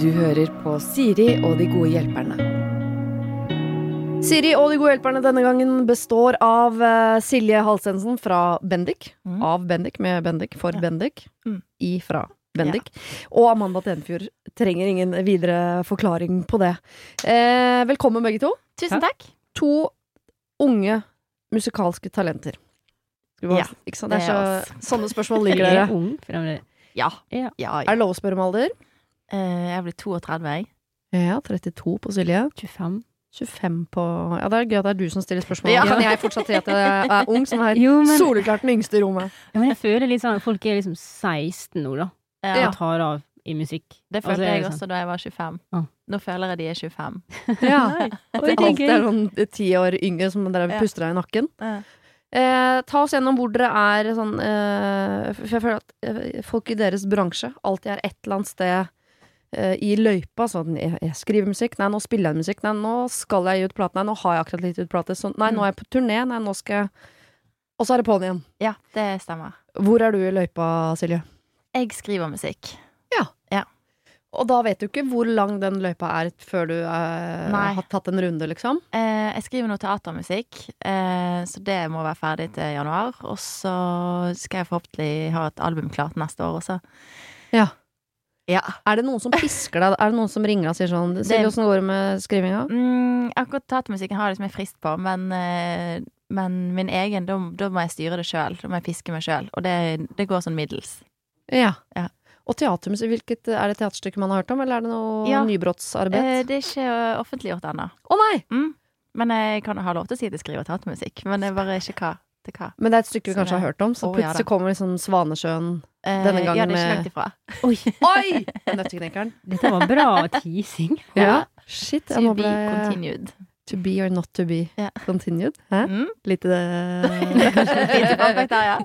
Du hører på Siri og de gode hjelperne. Siri og de gode hjelperne denne gangen består av eh, Silje Halsensen fra Bendik. Mm. Av Bendik, med Bendik, for Ja. Bendik. Mm. Ifra Bendik. Og Amanda Tenfjord. Trenger ingen videre forklaring på det. Eh, velkommen, begge to. Tusen takk. To unge musikalske talenter. Skal vi bare- Ja, ikke sant? Det det er er så, sånne spørsmål ligger Jeg dere. er ung fremdeles. Ja. Ja. Er det lov å spørre om alder? Eh, jeg blir 32, jeg. Ja, 32 på Silje. 25. 25 på Ja, det er gøy at det er du som stiller spørsmål. Ja. Kan jeg fortsatt si at jeg er ung, som er Jo, men, soleklart den yngste i rommet? ja, men jeg føler litt sånn at folk er liksom 16 nå, da. Ja. Og tar av i musikk. Eh, Det følte Altså, er jeg sånn- også da jeg var 25. Ah. Nå føler jeg de er 25. Ja. At det Oi, det er alltid er gøy. noen ti år yngre som dere Ja. puster deg i nakken. Eh, ta oss gjennom hvor dere er sånn eh, For jeg føler at eh, folk i deres bransje alltid er et eller annet sted eh, i løypa. Sånn jeg, jeg skriver musikk, nei, nå spiller jeg musikk, nei, nå skal jeg gi ut plate, nei, nå har jeg akkurat litt ut plate, sånn, nei, nå er jeg på turné, nei, nå skal jeg Og så er det på'n igjen. Ja, det stemmer. Hvor er du i løypa, Silje? Jeg skriver musikk. Og da vet du ikke hvor lang den løypa er før du eh, Nei. har tatt en runde, liksom. Eh, jeg skriver nå teatermusikk, eh, så det må være ferdig til januar. Og så skal jeg forhåpentlig ha et album klart neste år også. Ja. Ja. Er det noen som pisker deg? Er det noen som ringer deg og sier sånn Silje, åssen går det med skrivinga? Mm, akkurat teatermusikken har jeg liksom en frist på, men, eh, men min egen, da da må jeg styre det sjøl. Da må jeg piske meg sjøl. Og det, det går sånn middels. Ja. Ja. Og teatermusikk, hvilket er det teaterstykket man har hørt om, eller er det noe Ja. Eh, nybrottsarbeid? Å det er ikke eh, offentliggjort ennå. nei! Men jeg kan ha lov til å si at jeg skriver teatermusikk. Men det er bare ikke hva til hva. Men det er et stykke vi Så kanskje har det- hørt om, så Å, ja da. plutselig kommer liksom Svanesjøen Eh, Denne gangen ja, det er med- ikke langt ifra. Oi, Oi! Nøtteknekkeren. dette var bra teasing. Ja. Shit. To Jeg må be ble continued. To be or not to be Ja. continued. Hæ? Mm. Lite Lite det comeback der, ja.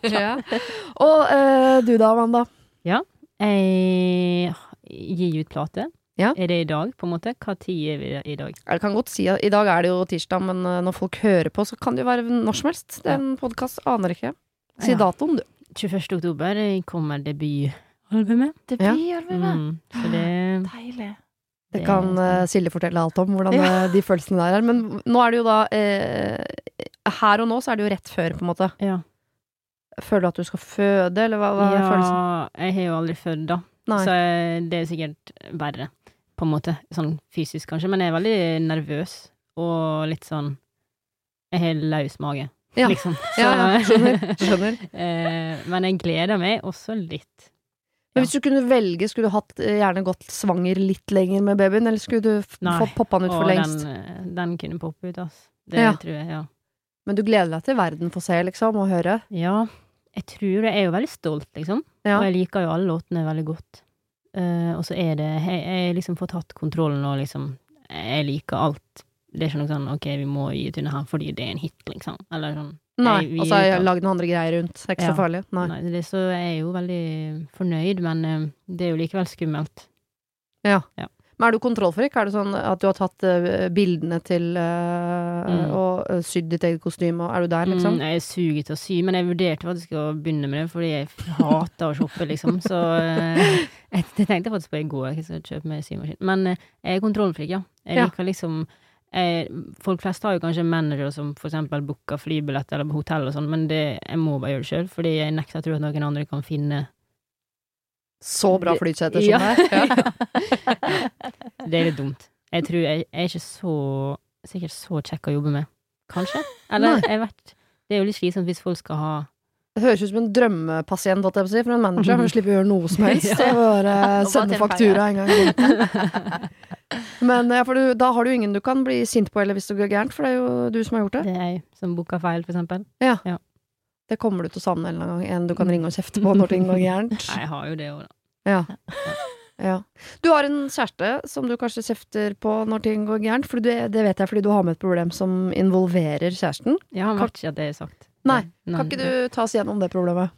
ja. Og eh, du da, Amanda? Jeg gir ut plate. Ja. Er det i dag, på en måte? Hva tid er vi i dag? Ja, Det kan godt si at I dag er det jo tirsdag, men eh, når folk hører på, så kan det jo være når som helst. Det er en podkast, aner ikke. Si Ja. datoen, du. 21. oktober eh, kommer debutalbumet. Det blir albumet. Mm, så det, Deilig. Det kan eh, Silje fortelle alt om, hvordan Ja. eh, de følelsene der er. Men nå er det jo da eh, Her og nå så er det jo rett før, på en måte. Ja. Føler du at du skal føde, eller hva, hva er følelsen? ja, jeg har jo aldri født, da. Nei. Så eh, det er sikkert verre, på en måte. Sånn fysisk, kanskje. Men jeg er veldig nervøs, og litt sånn Jeg har løs mage, Ja. liksom. Så, Ja, ja, skjønner. skjønner. eh, men jeg gleder meg også litt. Men hvis du kunne velge, skulle du hatt eh, gjerne gått svanger litt lenger med babyen, eller skulle du f- Nei. fått poppa den ut Og for lengst? den, eh, den kunne poppe ut, altså. Det Ja. tror jeg, ja. Men du gleder deg til verden får se, liksom, og høre? Ja, jeg tror det. Jeg er jo veldig stolt, liksom. Ja. Og jeg liker jo alle låtene veldig godt. Eh, og så er det Jeg jeg har liksom fått tatt kontrollen, og liksom Jeg liker alt. Det er ikke noe sånn OK, vi må gi ut denne her fordi det er en hit, liksom. Eller sånn. Nei. vi Og så har gir jeg ut lagd noen andre greier rundt. Det er ikke Ja. så farlig. Nei. Nei, det, så jeg er jo veldig fornøyd, men eh, det er jo likevel skummelt. Men er du kontrollfrik? Er det sånn at du har tatt eh, bildene til eh, Mm. og eh, sydd ditt eget kostyme, og er du der, liksom? Mm, jeg suger til å sy, men jeg vurderte faktisk å begynne med det, fordi jeg f- hater å shoppe, liksom. Så eh, jeg, det tenkte jeg faktisk på i går, jeg skal kjøpe meg symaskin. Men eh, jeg er kontrollfrik, ja. Jeg Ja. liker liksom eh, Folk flest har jo kanskje manager som for eksempel booker flybillett eller hotell og sånn, men det, jeg må bare gjøre det sjøl, fordi jeg nekter å tro at noen andre kan finne Så bra Det- flyseter som Ja. det er. Ja. Det er litt dumt. Jeg tror jeg, jeg er ikke så sikkert så kjekk å jobbe med. Kanskje? Eller jeg vet Det er jo litt slitsomt hvis folk skal ha Det høres ut som en drømmepasient holdt jeg på å si, for en manager. for Du slipper å gjøre noe som helst. Mm. Ja. Og bare Og bare sende tilfelle. faktura en gang i måneden. Men ja, for du, da har du ingen du kan bli sint på eller hvis det går gærent, for det er jo du som har gjort det. Det er jeg som booker feil, for eksempel. Det kommer du til å savne en eller annen gang. En du kan ringe og kjefte på når ting går gærent. Mm. Nei, jeg har jo det òg, da. Ja. ja. Du har en kjæreste som du kanskje kjefter på når ting går gærent. For du, det vet jeg fordi du har med et problem som involverer kjæresten. Jeg har merket ikke at det er sagt. Nei, Men- Kan ikke du ta oss gjennom det problemet?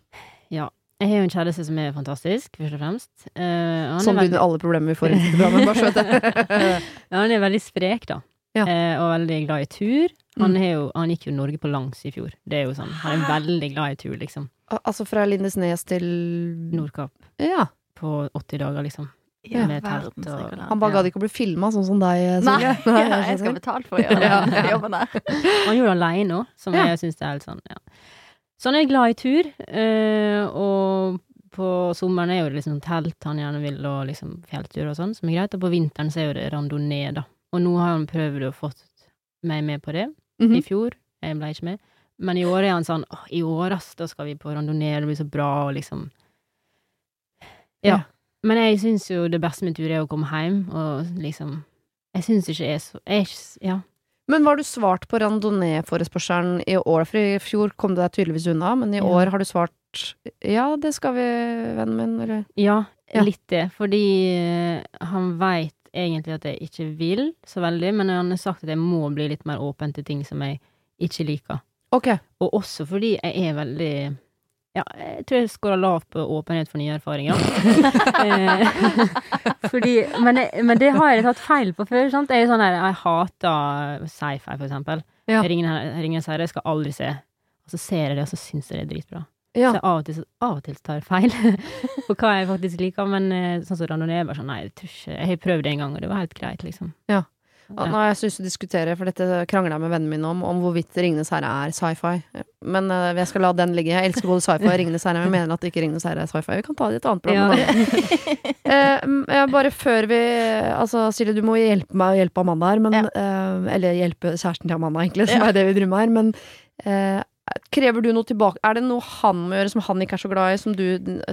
Jeg har jo en kjæreste som er fantastisk, først og fremst. Eh, han, Sånn er veldig, begynner alle problemer vi får i dette programmet. Bare så vet jeg. han er veldig sprek, da. Ja. Mm. Eh, og veldig glad i tur. Han, har jo, han gikk jo Norge på langs i fjor. Det er jo sånn. Han er veldig glad i tur, liksom. Al- Altså fra Lindesnes til Nordkapp Ja. på 80 dager, liksom. Ja, Med telt verdens og- regular. Han bare Ja. gadd ikke å bli filma, sånn som deg, Nei, Silje. jeg skal betale for å gjøre Ja, den ja. jobben der. Han gjorde det alene òg, som Ja. jeg syns er helt sånn ja. Så han er glad i tur, eh, og på sommeren er jo det liksom telt han gjerne vil, og liksom fjelltur og sånn, som er greit. Og på vinteren så er jo det randonee, da. Og nå har han prøvd å få meg med på det. Mhm. I fjor, jeg ble ikke med. Men i år er han sånn Åh, i år, ass, da skal vi på randonee, det blir så bra, og liksom Ja. Ja. Men jeg syns jo det beste med tur er å komme hjem, og liksom Jeg syns ikke jeg er så jeg er ikke, s- Ja. Men hva har du svart på randonee-forespørselen i år? For i fjor kom du deg tydeligvis unna, men i Ja. år har du svart ja, det skal vi, vennen min, eller Ja, Ja. litt det. Fordi eh, han veit egentlig at jeg ikke vil så veldig, men han har sagt at jeg må bli litt mer åpen til ting som jeg ikke liker. Ok. Og også fordi jeg er veldig ja, jeg tror jeg scorer lavt på åpenhet for nye erfaringer. Eh, Fordi, men, jeg- men det har jeg tatt feil på før. Sant? Jeg, er sånn her, jeg hater sci-fi, for eksempel. Ja. Jeg ringer, jeg ringer en serie, jeg skal aldri se. Og så ser jeg det, og så syns jeg det er dritbra. Ja. Så jeg av og til, av og til tar jeg feil på hva jeg faktisk liker, men eh, sånn som randonee jeg er bare sånn, nei, jeg tror ikke Jeg har prøvd det en gang, og det var helt greit, liksom. Ja. Ja. Ja. Nå har jeg lyst til å diskutere, for dette krangla jeg med vennene mine om, om hvorvidt Ringenes herre er sci-fi. Men eh, jeg skal la den ligge. Jeg elsker både sci-fi og Ringenes herre, men jeg mener at ikke Ringenes herre er sci-fi. Vi kan ta det i et annet program. Ja. Eh, m- eh, bare før vi Altså, Silje, du må hjelpe meg å hjelpe Amanda her, men Ja. eh, Eller hjelpe kjæresten til Amanda, egentlig, som Ja. er det vi driver med her, men eh, Krever du noe tilbake? Er det noe han må gjøre som han ikke er så glad i? Som du,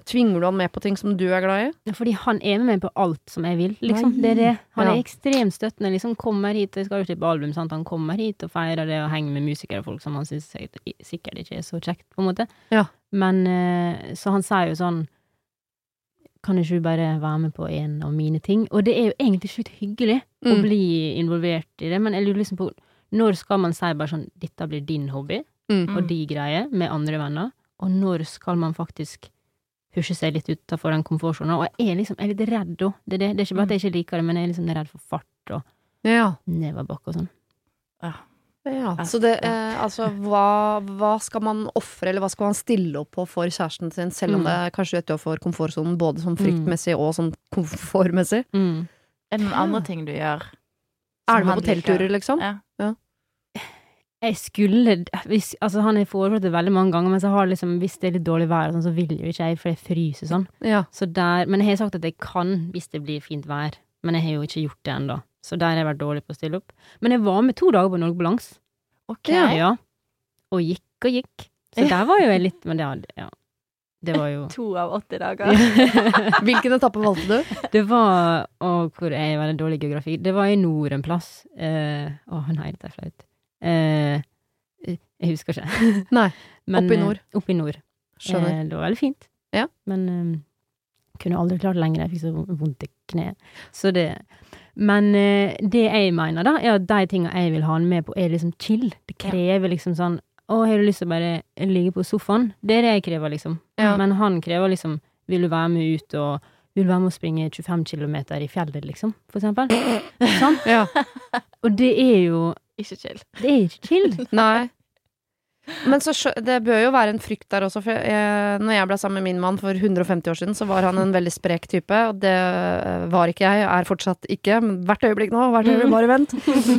tvinger du han med på ting som du er glad i? Fordi han er med meg på alt som jeg vil, liksom. Det er det. Han Ja. er ekstremt støttende. Liksom kommer hit, jeg skal jo slippe album, sant. Han kommer hit og feirer det og henger med musikere og folk som han syns sikkert sikkert ikke er så kjekt, på en måte. Ja. Men eh, så han sier jo sånn Kan ikke du bare være med på en av mine ting? Og det er jo egentlig sjukt hyggelig å Mm. bli involvert i det, men jeg lurer liksom på når skal man si bare sånn 'dette blir din hobby', Mm. og de greier, med andre venner, og når skal man faktisk pushe seg litt utafor den komfortsonen? Og jeg er liksom jeg er litt redd òg. Det, er det, det er ikke bare at jeg ikke liker det, men jeg er liksom redd for fart og Ja. nedoverbakke og sånn. Ah. Ja, så det, eh, altså, hva, hva skal man ofre, eller hva skal man stille opp på for kjæresten sin, selv om Mm. det er kanskje utenfor komfortsonen, både sånn Mm. fryktmessig og sånn komfortmessig? Er det noen andre ting du gjør? som Er du med han på liker? teltturer, liksom? Ja. Jeg skulle hvis, Altså, han har foreslått det veldig mange ganger, men så har det liksom, hvis det er litt dårlig vær, og sånn, så vil jo ikke jeg, for jeg fryser sånn. Ja. Så der, men jeg har sagt at jeg kan hvis det blir fint vær, men jeg har jo ikke gjort det ennå. Så der har jeg vært dårlig på å stille opp. Men jeg var med to dager på Norge Balanse. Ok. Ja. ja. Og gikk og gikk. Så Ja. der var jo jeg litt Men det, hadde- ja. det var jo To av 80 dager. Hvilken etappe valgte du? Det var Å, hvor er jeg veldig dårlig i geografi. Det var i nord en plass. Eh, å nei, dette er flaut. Eh, jeg husker ikke. Nei, Men, opp i eh, nord. Opp i nord. Skjønner. Eh, det var veldig fint. Ja. Men eh, kunne aldri klart det lenger. Jeg fikk så vondt i kneet. Så det Men eh, det jeg mener, da, er at de tinga jeg vil ha han med på, er liksom chill. Det krever liksom sånn Å, har du lyst til å bare ligge på sofaen? Det er det jeg krever, liksom. Ja. Men han krever liksom Vil du være med ut og Vil du være med å springe 25 km i fjellet, liksom? For eksempel. sånn. Ja. Og det er jo Ikke chill. Det er ikke chill. Nei. Men så, skjø- det bør jo være en frykt der også, for jeg, når jeg ble sammen med min mann for 150 år siden, så var han en veldig sprek type, og det øh, var ikke jeg, er fortsatt ikke, men hvert øyeblikk nå, hvert øyeblikk, bare vent.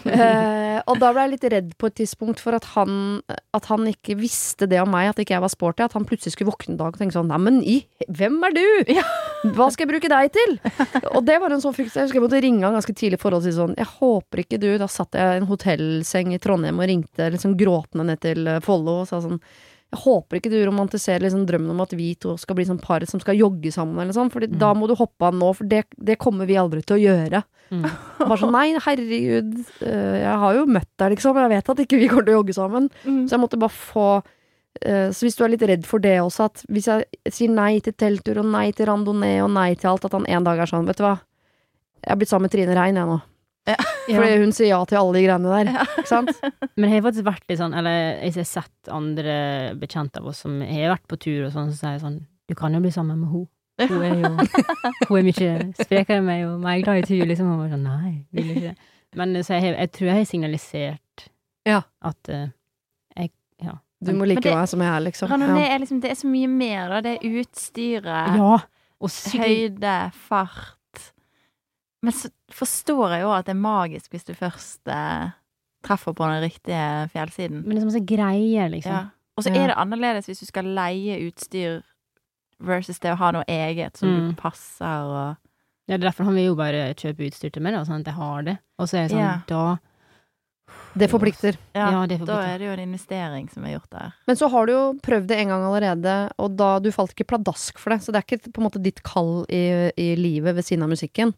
Eh, og da ble jeg litt redd på et tidspunkt for at han, at han ikke visste det om meg, at ikke jeg var sporty, at han plutselig skulle våkne en dag og tenke sånn, neimen, i- hvem er du? Hva skal jeg bruke deg til? Og det var en sånn frykt. Jeg husker jeg måtte ringe han ganske tidlig i forhold og si sånn Jeg håper ikke du Da satt jeg i en hotellseng i Trondheim og ringte liksom gråtende ned til eh, Follo og sa sånn Jeg håper ikke du romantiserer liksom drømmen om at vi to skal bli sånn par som skal jogge sammen eller sånn, Fordi da må du hoppe av nå, for det, det kommer vi aldri til å gjøre. Mm. Bare sånn Nei, herregud, eh, jeg har jo møtt deg, liksom, og jeg vet at ikke vi kommer til å jogge sammen. Mm. Så jeg måtte bare få eh, Så hvis du er litt redd for det også, at hvis jeg sier nei til telttur og nei til randonee og nei til alt, at han en dag er sånn, vet du hva Jeg er blitt sammen med Trine Rein, jeg nå. Fordi hun sier ja til alle de greiene der. Ikke sant? Men jeg har faktisk vært litt sånn, eller jeg har sett andre bekjente av oss som har vært på tur og sånn, så sier jeg sånn Du kan jo bli sammen med henne. Hun er jo Hun er mye sprekere enn meg, og meg glad i tur, liksom. Og bare sånn Nei, vil ikke eh, det. Men så jeg, har- jeg tror jeg har signalisert Ja. at eh, jeg Ja. Du må like Men det- meg som jeg er, liksom. Randonee Ja. er liksom Det er så mye mer, da. Det er utstyret. Ja. Og sykling. Høyde, fart Men så forstår jeg jo at det er magisk hvis du først eh, treffer på den riktige fjellsiden. Men det er så masse greier, liksom. Ja. Og så Ja. er det annerledes hvis du skal leie utstyr versus det å ha noe eget som Mm. du passer og Ja, det er derfor han vil jo bare kjøpe utstyr til meg, da, sånn at jeg har det. Og så er jeg sånn, Ja. da Det forplikter. Ja, Ja, det får da bli. er det jo en investering som er gjort der. Men så har du jo prøvd det en gang allerede, og da du falt ikke pladask for det. Så det er ikke på en måte ditt kall i, i livet ved siden av musikken.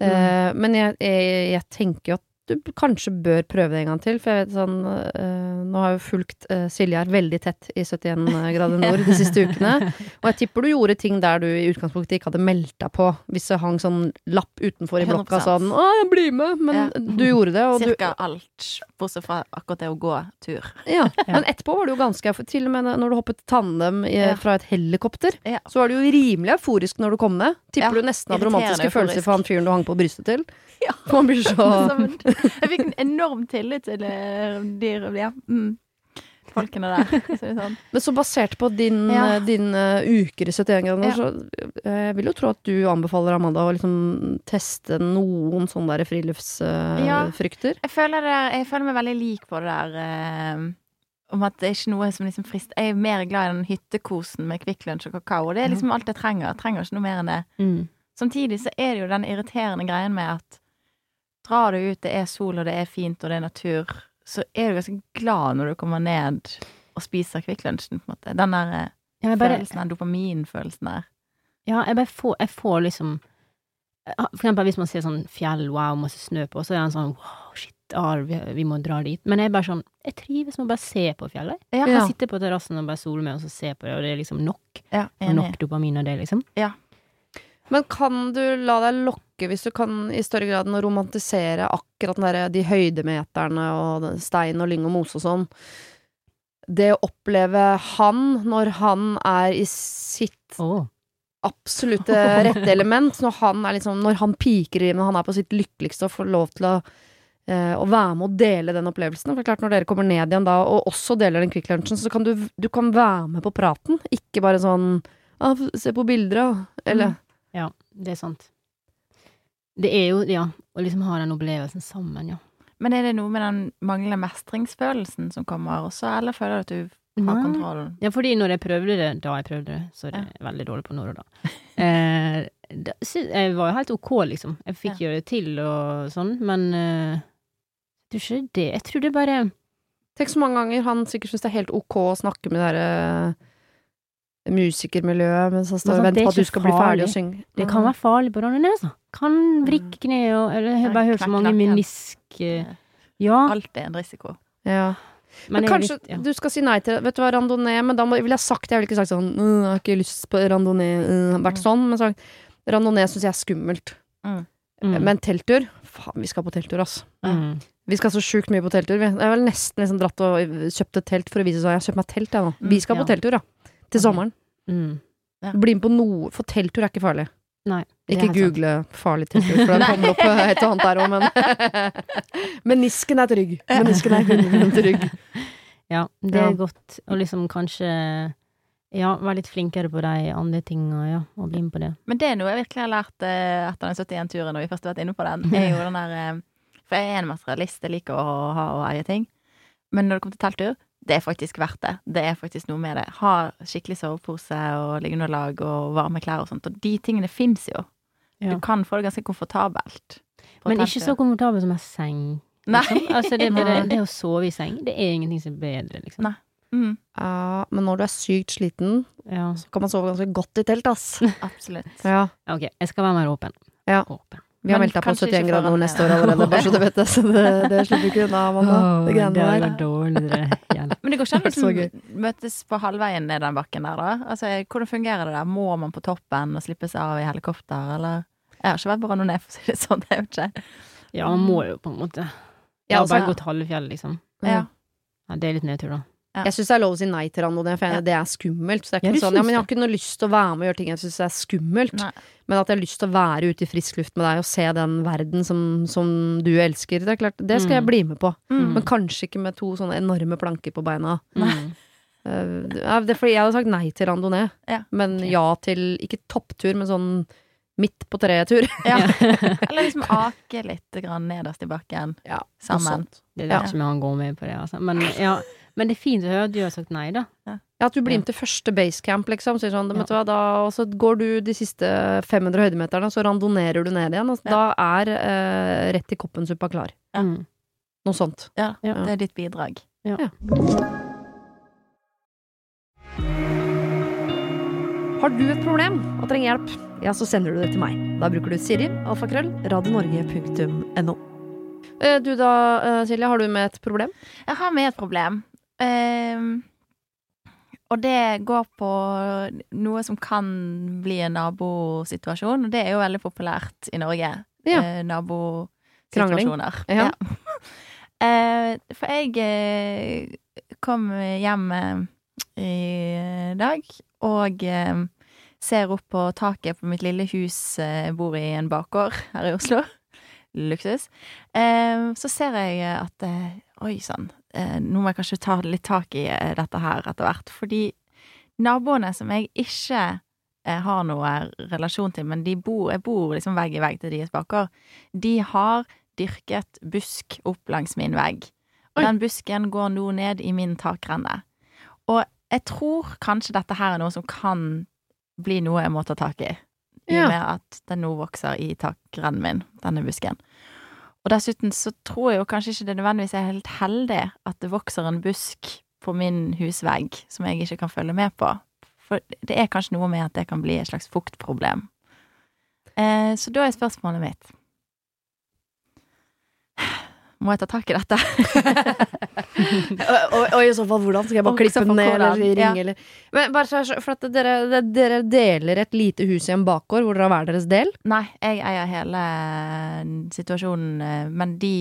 Mm. Eh, men jeg, jeg, jeg tenker jo at du kanskje bør prøve det en gang til, for jeg vet sånn eh, Nå har jeg jo fulgt eh, Siljar veldig tett i 71 grader nord de siste ukene. Og jeg tipper du gjorde ting der du i utgangspunktet ikke hadde meldt deg på, hvis det hang sånn lapp utenfor i blokka 100%. sånn 'Å, jeg blir med!' Men Ja. du gjorde det, og du Cirka alt, bortsett fra akkurat det å gå tur. ja, Men etterpå var du jo ganske eufor- Til og med når du hoppet tandem i, Ja. fra et helikopter, Ja. så var du jo rimelig euforisk når du kom ned. Tipper Ja, du nesten hadde irriterende romantiske følelser euforisk. for han fyren du hang på brystet til. Ja. For man blir så Som- Jeg fikk en enorm tillit til eh, de ja. mm. folkene der. Så det er sånn. Men så basert på din, Ja. eh, din eh, uker i 71 grader, Ja. så eh, jeg vil jo tro at du anbefaler Amanda å liksom teste noen sånne der Ja. friluftsfrykter. Eh, Jeg føler, det der, jeg føler meg veldig lik på det der eh, om at det er ikke noe som liksom frister. Jeg er mer glad i den hyttekosen med Kvikk Lunsj og kakao. og Det Mhm. er liksom alt jeg trenger. Jeg trenger ikke noe mer enn det. Mm. Samtidig så er det jo den irriterende greien med at drar du ut, det er sol, og det er fint, og det er natur, så er du ganske glad når du kommer ned og spiser Kvikk Lunsjen, på en måte. Den der eh, Ja, jeg bare, følelsen, den dopaminfølelsen der. ja, jeg bare får, jeg får liksom For eksempel hvis man ser sånn fjell, wow, masse snø på, så er han sånn wow, shit, ah, vi, vi må dra dit. Men jeg er bare sånn Jeg trives med å bare se på fjellet. Ja, Jeg Ja. sitter på terrassen og bare soler meg, og så ser på det, og det er liksom nok. ja Nok enig. dopamin av det, liksom. Men kan du la deg lokke, hvis du kan i større grad enn å romantisere akkurat den der, de høydemeterne og den stein og lyng og mose og sånn Det å oppleve han når han er i sitt Åh. absolutte rette element, når han, er liksom, når han piker i det, når han er på sitt lykkeligste og får lov til å eh, å være med og dele den opplevelsen. For det er klart Når dere kommer ned igjen da og også deler den Kvikk Lunsjen, så kan du, du kan være med på praten. Ikke bare sånn ah, 'Se på bilder', da. Eller Ja, det er sant. Det er jo, ja, å liksom ha den opplevelsen sammen, ja. Men er det noe med den manglende mestringsfølelsen som kommer også, eller føler du at du har Nei. kontrollen? Ja, fordi når jeg prøvde det, da jeg prøvde det, så er det veldig dårlig på når og da. Eh, da sy- jeg var jo helt ok, liksom. Jeg fikk gjøre det til og sånn, men eh, du ikke det. Jeg tror det bare Tenk så mange ganger han sikkert syns det er helt ok å snakke med det derre musikermiljøet mens han står og sant, sånn, det venter er på at du ikke skal bli ferdig farlig. å synge. Det kan være farlig på Randone, altså. Kan Mm. vrikke kne og Eller jeg har bare hørt så mange Knekk nakken. menisk eh, Ja, Alt er en risiko. Ja. Men, men jeg kanskje litt, ja. du skal si nei til Vet du hva, randonee Men da må, ville jeg sagt det. Jeg ville ikke sagt sånn «Øh, Jeg har ikke lyst på randonee. øh», vært sånn. Men sagt randonee syns jeg er skummelt. Mm. Men telttur Faen, vi skal på telttur, ass. Mm. Vi skal så sjukt mye på telttur. vi. Jeg har vel nesten liksom dratt og kjøpt et telt for å vise seg. Jeg har kjøpt meg telt, jeg nå. Vi skal Mm, ja. på telttur, ja. Til Ok. sommeren. Mm. Bli med på noe, for telttur er ikke farlig. Nei. det er Ikke helt sant. google farlig telttur, for det kommer opp et og annet der òg, men Menisken er trygg. Menisken er 100 trygg. Ja, det er Ja. godt å liksom kanskje Ja, være litt flinkere på de andre tinga, ja, og bli med på det. Men det er noe jeg virkelig har lært eh, etter den 71-turen, når vi først har vært inne på den, er jo den der eh, For jeg er en materialist, jeg liker å ha og eie ting. Men når det kommer til telttur, det er faktisk verdt det. Det er faktisk noe med det. Ha skikkelig sovepose og liggeunderlag og varme klær og sånt. Og de tingene fins jo. Ja. Du kan få det ganske komfortabelt. på Men ikke så telttur. komfortabel som ei seng. Nei. Altså, det, er bare, Nei. det å sove i seng, det er ingenting som er bedre, liksom. Nei. Mm, Ja, men når du er sykt sliten, Ja. så kan man sove ganske godt i telt, ass. absolutt. Ja, Ok, jeg skal være mer åpen. Ja. Åpen. vi har Men meldt deg på kanskje ikke 71 grader foran nord det, neste år allerede, bare så du vet det. Så det, det slipper du ikke unna, Amanda. det greiene var der. dårlig, det. Men det går ikke an å Det var så liksom, møtes på halvveien ned den bakken der, da? Altså, hvordan fungerer det der? Må man på toppen og slippes av i helikopter, eller? Jeg har ikke vært på randonee, for å si det sånn. Det er jo ikke Ja, man må jo på en måte. Jeg Ja, har altså, bare gått halve fjellet, liksom. ja. Ja, det er litt nedtur, da. Ja. Jeg syns det er lov å si nei til randonee, for jeg- det er skummelt. Så det er Ja, ikke noe du sånn, syns ja, men jeg har det. ikke noe lyst til å være med og gjøre ting jeg syns er skummelt, Nei. men at jeg har lyst til å være ute i frisk luft med deg og se den verden som, som du elsker, det er klart, det skal jeg Mm. bli med på. Mm. Men kanskje ikke med to sånne enorme planker på beina. Mm. Eh, det er det er fordi jeg hadde sagt nei til randonee, Ja. men ja til ikke topptur, men sånn midt på treet-tur. Ja. Eller liksom ake litt grann nederst i bakken Ja, sammen. Det Ja. lar ikke vi han gå med på det, altså. Men, ja. Men det er fint å høre at du har sagt nei, da. Ja, at du blir Ja. med til første basecamp, liksom. Sier sånn, Ja. vet du hva, da, og så går du de siste 500 høydemeterne, og så randonerer du ned igjen. Og Ja. Da er eh, rett i koppensuppa klar. Ja. Mm. Noe sånt. Ja, Ja. det er ditt bidrag. Ja. Ja. Har du et problem og trenger hjelp, ja, så sender du det til meg. Da bruker du Siri, alfakrøll, radionorge.no. Eh, Du da, eh, Silje, har du med et problem? Jeg har med et problem. Ehm, og det går på noe som kan bli en nabosituasjon, og det er jo veldig populært i Norge. Ja. Eh, nabosituasjoner. Ja. Eh, for jeg eh, kom hjem eh, i dag og eh, ser opp på taket på mitt lille hus. eh, Jeg bor i en bakgård her i Oslo. Luksus. Eh, så ser jeg at eh, Oi sann, eh, nå må jeg kanskje ta litt tak i eh, dette her etter hvert. Fordi naboene som jeg ikke eh, har noe relasjon til, men de bor, jeg bor liksom vegg i vegg til deres bakgård, de har dyrket busk opp langs min vegg. Og Oi. den busken går nå ned i min takrenne. Og jeg tror kanskje dette her er noe som kan bli noe jeg må ta tak i. I og Ja. med at den nå vokser i takrennen min, denne busken. Og dessuten så tror jeg jo kanskje ikke det nødvendigvis er helt heldig at det vokser en busk på min husvegg som jeg ikke kan følge med på. For det er kanskje noe med at det kan bli et slags fuktproblem. Eh, så da er spørsmålet mitt Må jeg ta tak i dette? og, og, og i så fall, hvordan? Skal jeg bare Og klippe så den for ned, eller hvordan? ringe, Ja. eller Men bare så, jeg skjø- for at dere, dere deler et lite hus i en bakgård hvor dere har hver deres del? Nei, jeg eier hele situasjonen, eh, men de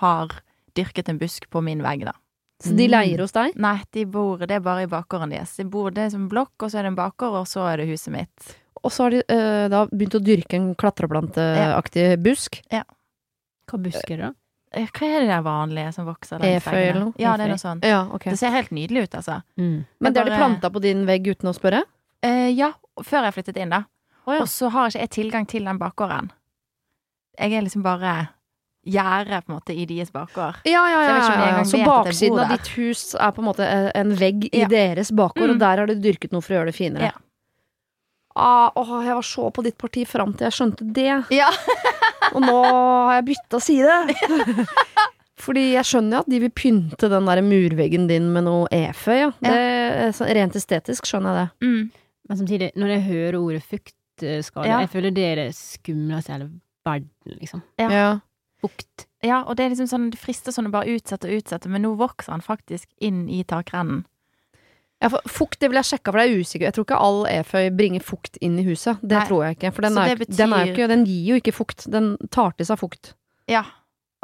har dyrket en busk på min vegg, da. Så de Mm. leier hos deg? Nei, de bor, det er bare i bakgården deres. De bor, det er som blokk, og så er det en bakgård, og så er det huset mitt. Og så har de eh, da begynt å dyrke en klatreplanteaktig busk. Hva busker det, da? Eh, Hva er det der vanlige som vokser langs Eføy eller veggene? noe? Ja, det Eføy. er noe sånt. Ja, ok. Det ser helt nydelig ut, altså. Mm. Men det har de bare- planta på din vegg uten å spørre? Eh, ja, før jeg flyttet inn, da. Å ja. Og så har ikke jeg tilgang til den bakgården. Jeg er liksom bare gjerdet, på en måte, i deres bakgård. Ja, ja, Så jeg ja. vet ikke om jeg ja, ja. engang Så vet at jeg baksiden bor av der. ditt hus er på en måte eh, en vegg i Ja. deres bakgård, Mm. og der har du dyrket noe for å gjøre det finere. Ja. Ah, åh, jeg var så på ditt parti fram til jeg skjønte det, Ja. og nå har jeg bytta side. Fordi jeg skjønner jo at de vil pynte den der murveggen din med noe eføy. Ja. Det, så Rent estetisk skjønner jeg det. Mm. Men samtidig, når jeg hører ordet fuktskade, Ja. jeg føler det er det skumleste i hele verden, liksom. Ja. Fukt. Ja, og det er liksom sånn, det frister sånn å bare utsette og utsette, men nå vokser han faktisk inn i takrennen. Ja, for fukt det vil jeg sjekke, for det er usikker. Jeg tror ikke all eføy bringer fukt inn i huset. Det Nei. tror jeg ikke. For den, Så er, jo det ikke- den, er jo betyr- ikke, den gir jo ikke fukt. Den tar til seg fukt. Ja,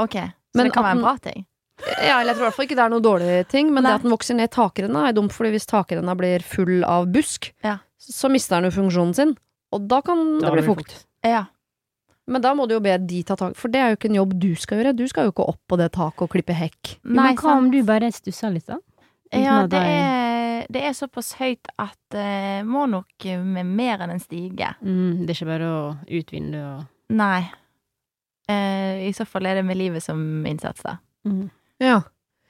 ok. Så Men det kan at være en den- bra ting. Ja, eller jeg tror i hvert fall ikke det er noe dårlig ting, men Nei. det at den vokser ned i takrenna er dumt, fordi hvis takrenna blir full av busk, Ja. så mister den jo funksjonen sin. Og da kan det bli fukt. Ja. Men da må du jo be de ta tak, for det er jo ikke en jobb du skal gjøre. Du skal jo ikke opp på det taket og klippe hekk. Jo, men hva om sant. du bare stusser litt, da? Uten Ja, at det jeg- er, det er såpass høyt at eh, må nok med mer enn en stige. Mm, det er ikke bare å ut vinduet og Nei. Eh, I så fall er det med livet som innsats, da. mm. Ja.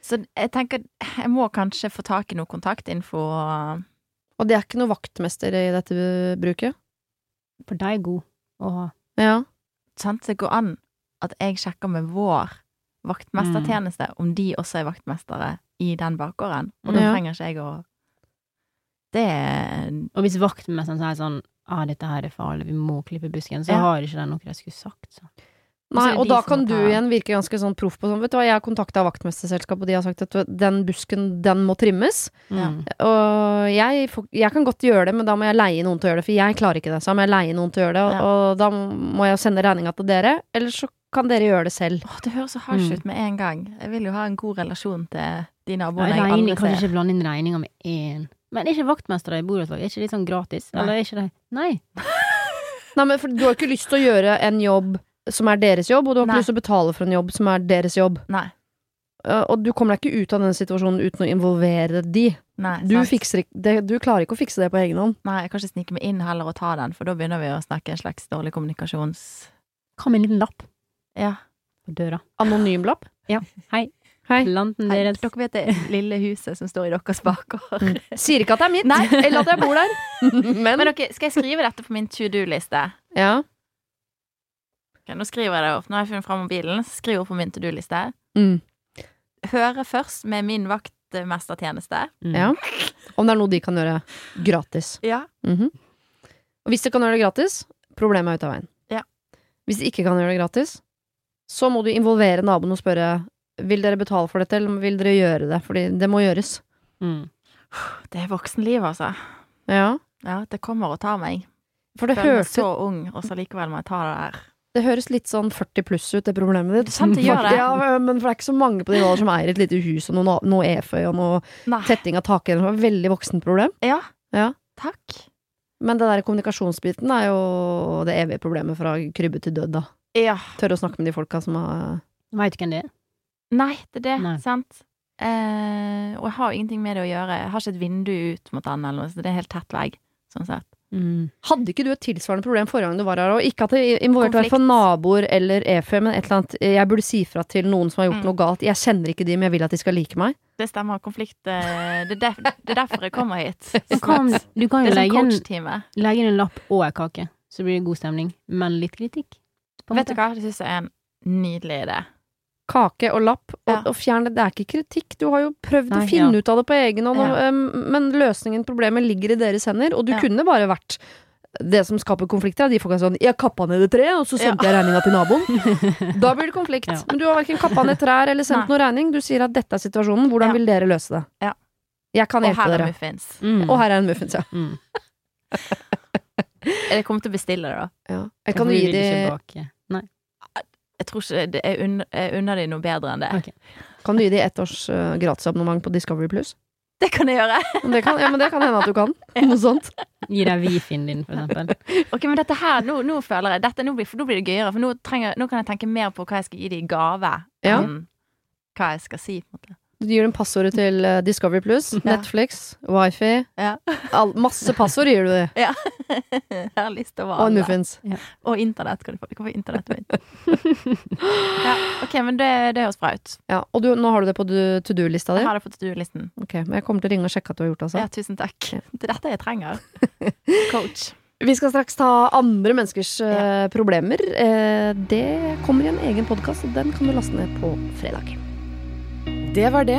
Så jeg tenker jeg må kanskje få tak i noe kontaktinfo. Og det er ikke noe vaktmester i dette eh, bruket. For de er gode å ha. Ja. Sant? Det går an at jeg sjekker med vår vaktmestertjeneste om de også er vaktmestere i den bakgården. Og da Mm. Ja. trenger ikke jeg å Det er Og hvis vaktmesteren sier sånn ah, 'dette her er farlig, vi må klippe busken', så Ja. har ikke de noe de skulle sagt. Så. Nei, er det og de da som kan må du ta- igjen virke ganske sånn proff på sånn Vet du hva, jeg har kontakta vaktmesterselskapet, og de har sagt at den busken, den må trimmes. Ja. Mm. Og jeg, får- jeg kan godt gjøre det, men da må jeg leie noen til å gjøre det, for jeg klarer ikke det. Så da må jeg leie noen til å gjøre det, og, Ja. og da må jeg sende regninga til dere. Eller så kan dere gjøre det selv. Åh, det høres så harsh Mm. ut med en gang. Jeg vil jo ha en god relasjon til de naboene jeg Regning, aldri kan ser. ikke blande inn regninga med én. Men er ikke vaktmestere i borettslag er ikke litt sånn gratis? Nei. Eller er ikke de Nei. Nei, men for, Du har ikke lyst til å gjøre en jobb som er deres jobb, og du har ikke Nei. lyst til å betale for en jobb som er deres jobb. Nei. Eh, og du kommer deg ikke ut av den situasjonen uten å involvere de. Nei, Du, sant. fikser, ikk- det, du klarer ikke å fikse det på egen hånd. Nei, jeg kan ikke snike meg inn heller og ta den, for da begynner vi å snakke en slags dårlig kommunikasjons... Hva med en liten lapp Ja. på døra? Anonymlapp. Hei. Planten Hei, deres dere vet det lille huset som står i deres bakgård? Sier ikke at det er mitt, Nei. eller at jeg bor der. Men, Men dere, skal jeg skrive dette på min to do-liste? ja. Ok, nå skriver jeg det opp. Nå har jeg funnet fram mobilen. Skriver på min to do-liste. Mm. Høre først med min vaktmestertjeneste. Mm. Ja. Om det er noe de kan gjøre gratis. Ja. Mhm. Og hvis de kan gjøre det gratis, problemet er ute av veien. Ja. Hvis de ikke kan gjøre det gratis, så må du involvere naboen og spørre vil dere betale for dette, eller vil dere gjøre det? Fordi det må gjøres. Mm. Det er voksenlivet, altså. Ja. Ja, det kommer og tar meg. For det, Jeg føler meg hørtes, så ung, og så likevel må jeg ta det der. det høres litt sånn 40 pluss ut, det problemet ditt. Mm. Sant, det gjør det. Ja, men for det er ikke så mange på de nivåene som eier et lite hus og noe, noe eføy og noe Nei. tetting av takrenner. Det var et veldig voksent problem. Ja. Ja. Takk. Men den der kommunikasjonsbiten er jo det evige problemet fra krybbe til død, da. Ja. Tørre å snakke med de folka som har Veit du hvem det er? Nei, det er det. Nei. Sant. Eh, og jeg har jo ingenting med det å gjøre. Jeg har ikke et vindu ut mot den, eller noe, så det er helt tett vegg. Sånn sett. Mm. Hadde ikke du et tilsvarende problem forrige gang du var her? Og ikke at det involverte Konflikt. hvertfall naboer eller EFØ, men et eller annet eh, Jeg burde si fra til noen som har gjort Mm. noe galt. Jeg kjenner ikke de, men jeg vil at de skal like meg. Det stemmer. Konflikt eh, Det er, derf- det er derfor jeg kommer hit. Du kan, du kan Det er jo sånn legge inn, coachtime. legge inn en lapp og ei kake, så blir det god stemning. Men litt kritikk. på en Vet du måte. hva, det syns jeg er en nydelig idé. Kake og lapp, og, Ja. og fjern det. Det er ikke kritikk. Du har jo prøvd Nei, å finne ja. ut av det på egen hånd, og, Ja. øhm, men løsningen, problemet, ligger i deres hender. Og du Ja. kunne bare vært det som skaper konflikter, er de folka sånn 'Jeg kappa ned et tre, og så sendte jeg regninga til naboen'. da blir det konflikt. Ja. Men du har verken kappa ned trær eller sendt noe regning. Du sier at 'dette er situasjonen, hvordan Ja. vil dere løse det?' Ja. Jeg kan Og hjelpe her er dere. muffins. Mm. Og her er en muffins, ja. Mm. Jeg kommer til å bestille det, da. Jeg kan For jo vi gi vil de, ikke bake. Nei. Jeg tror ikke det er un jeg unner de noe bedre enn det. Ok. kan du gi de ett års eh, gratisabonnement på Discovery Plus? Det kan jeg gjøre! Men Det kan, ja, men det kan hende at du kan. Noe sånt. Gi deg Wifien din, for eksempel. Ok, men dette her, Nå, nå føler jeg dette, nå blir, for nå blir det gøyere, for nå, trenger, nå kan jeg tenke mer på hva jeg skal gi de i gave. Ja. Enn hva jeg skal si. på en måte. Du gir dem passordet til eh, Discovery Plus, Netflix, wifi. Ja. All, masse passord gir du dem. Jeg har lyst Og til å være en alle. muffins. Og internett kan du få. Du kan få internett på internett. ja, ok, men det, det høres bra ut. Ja, og du, nå har du det på du- to do-lista di? Jeg har det på to do-listen. Ok, men jeg kommer til å ringe og sjekke at du har gjort det. Altså. Sånn. Ja, tusen takk. Det er dette jeg trenger. Coach. Vi skal straks ta andre menneskers eh, problemer. Eh, det kommer i en egen podkast, og den kan du laste ned på fredag. Det var det.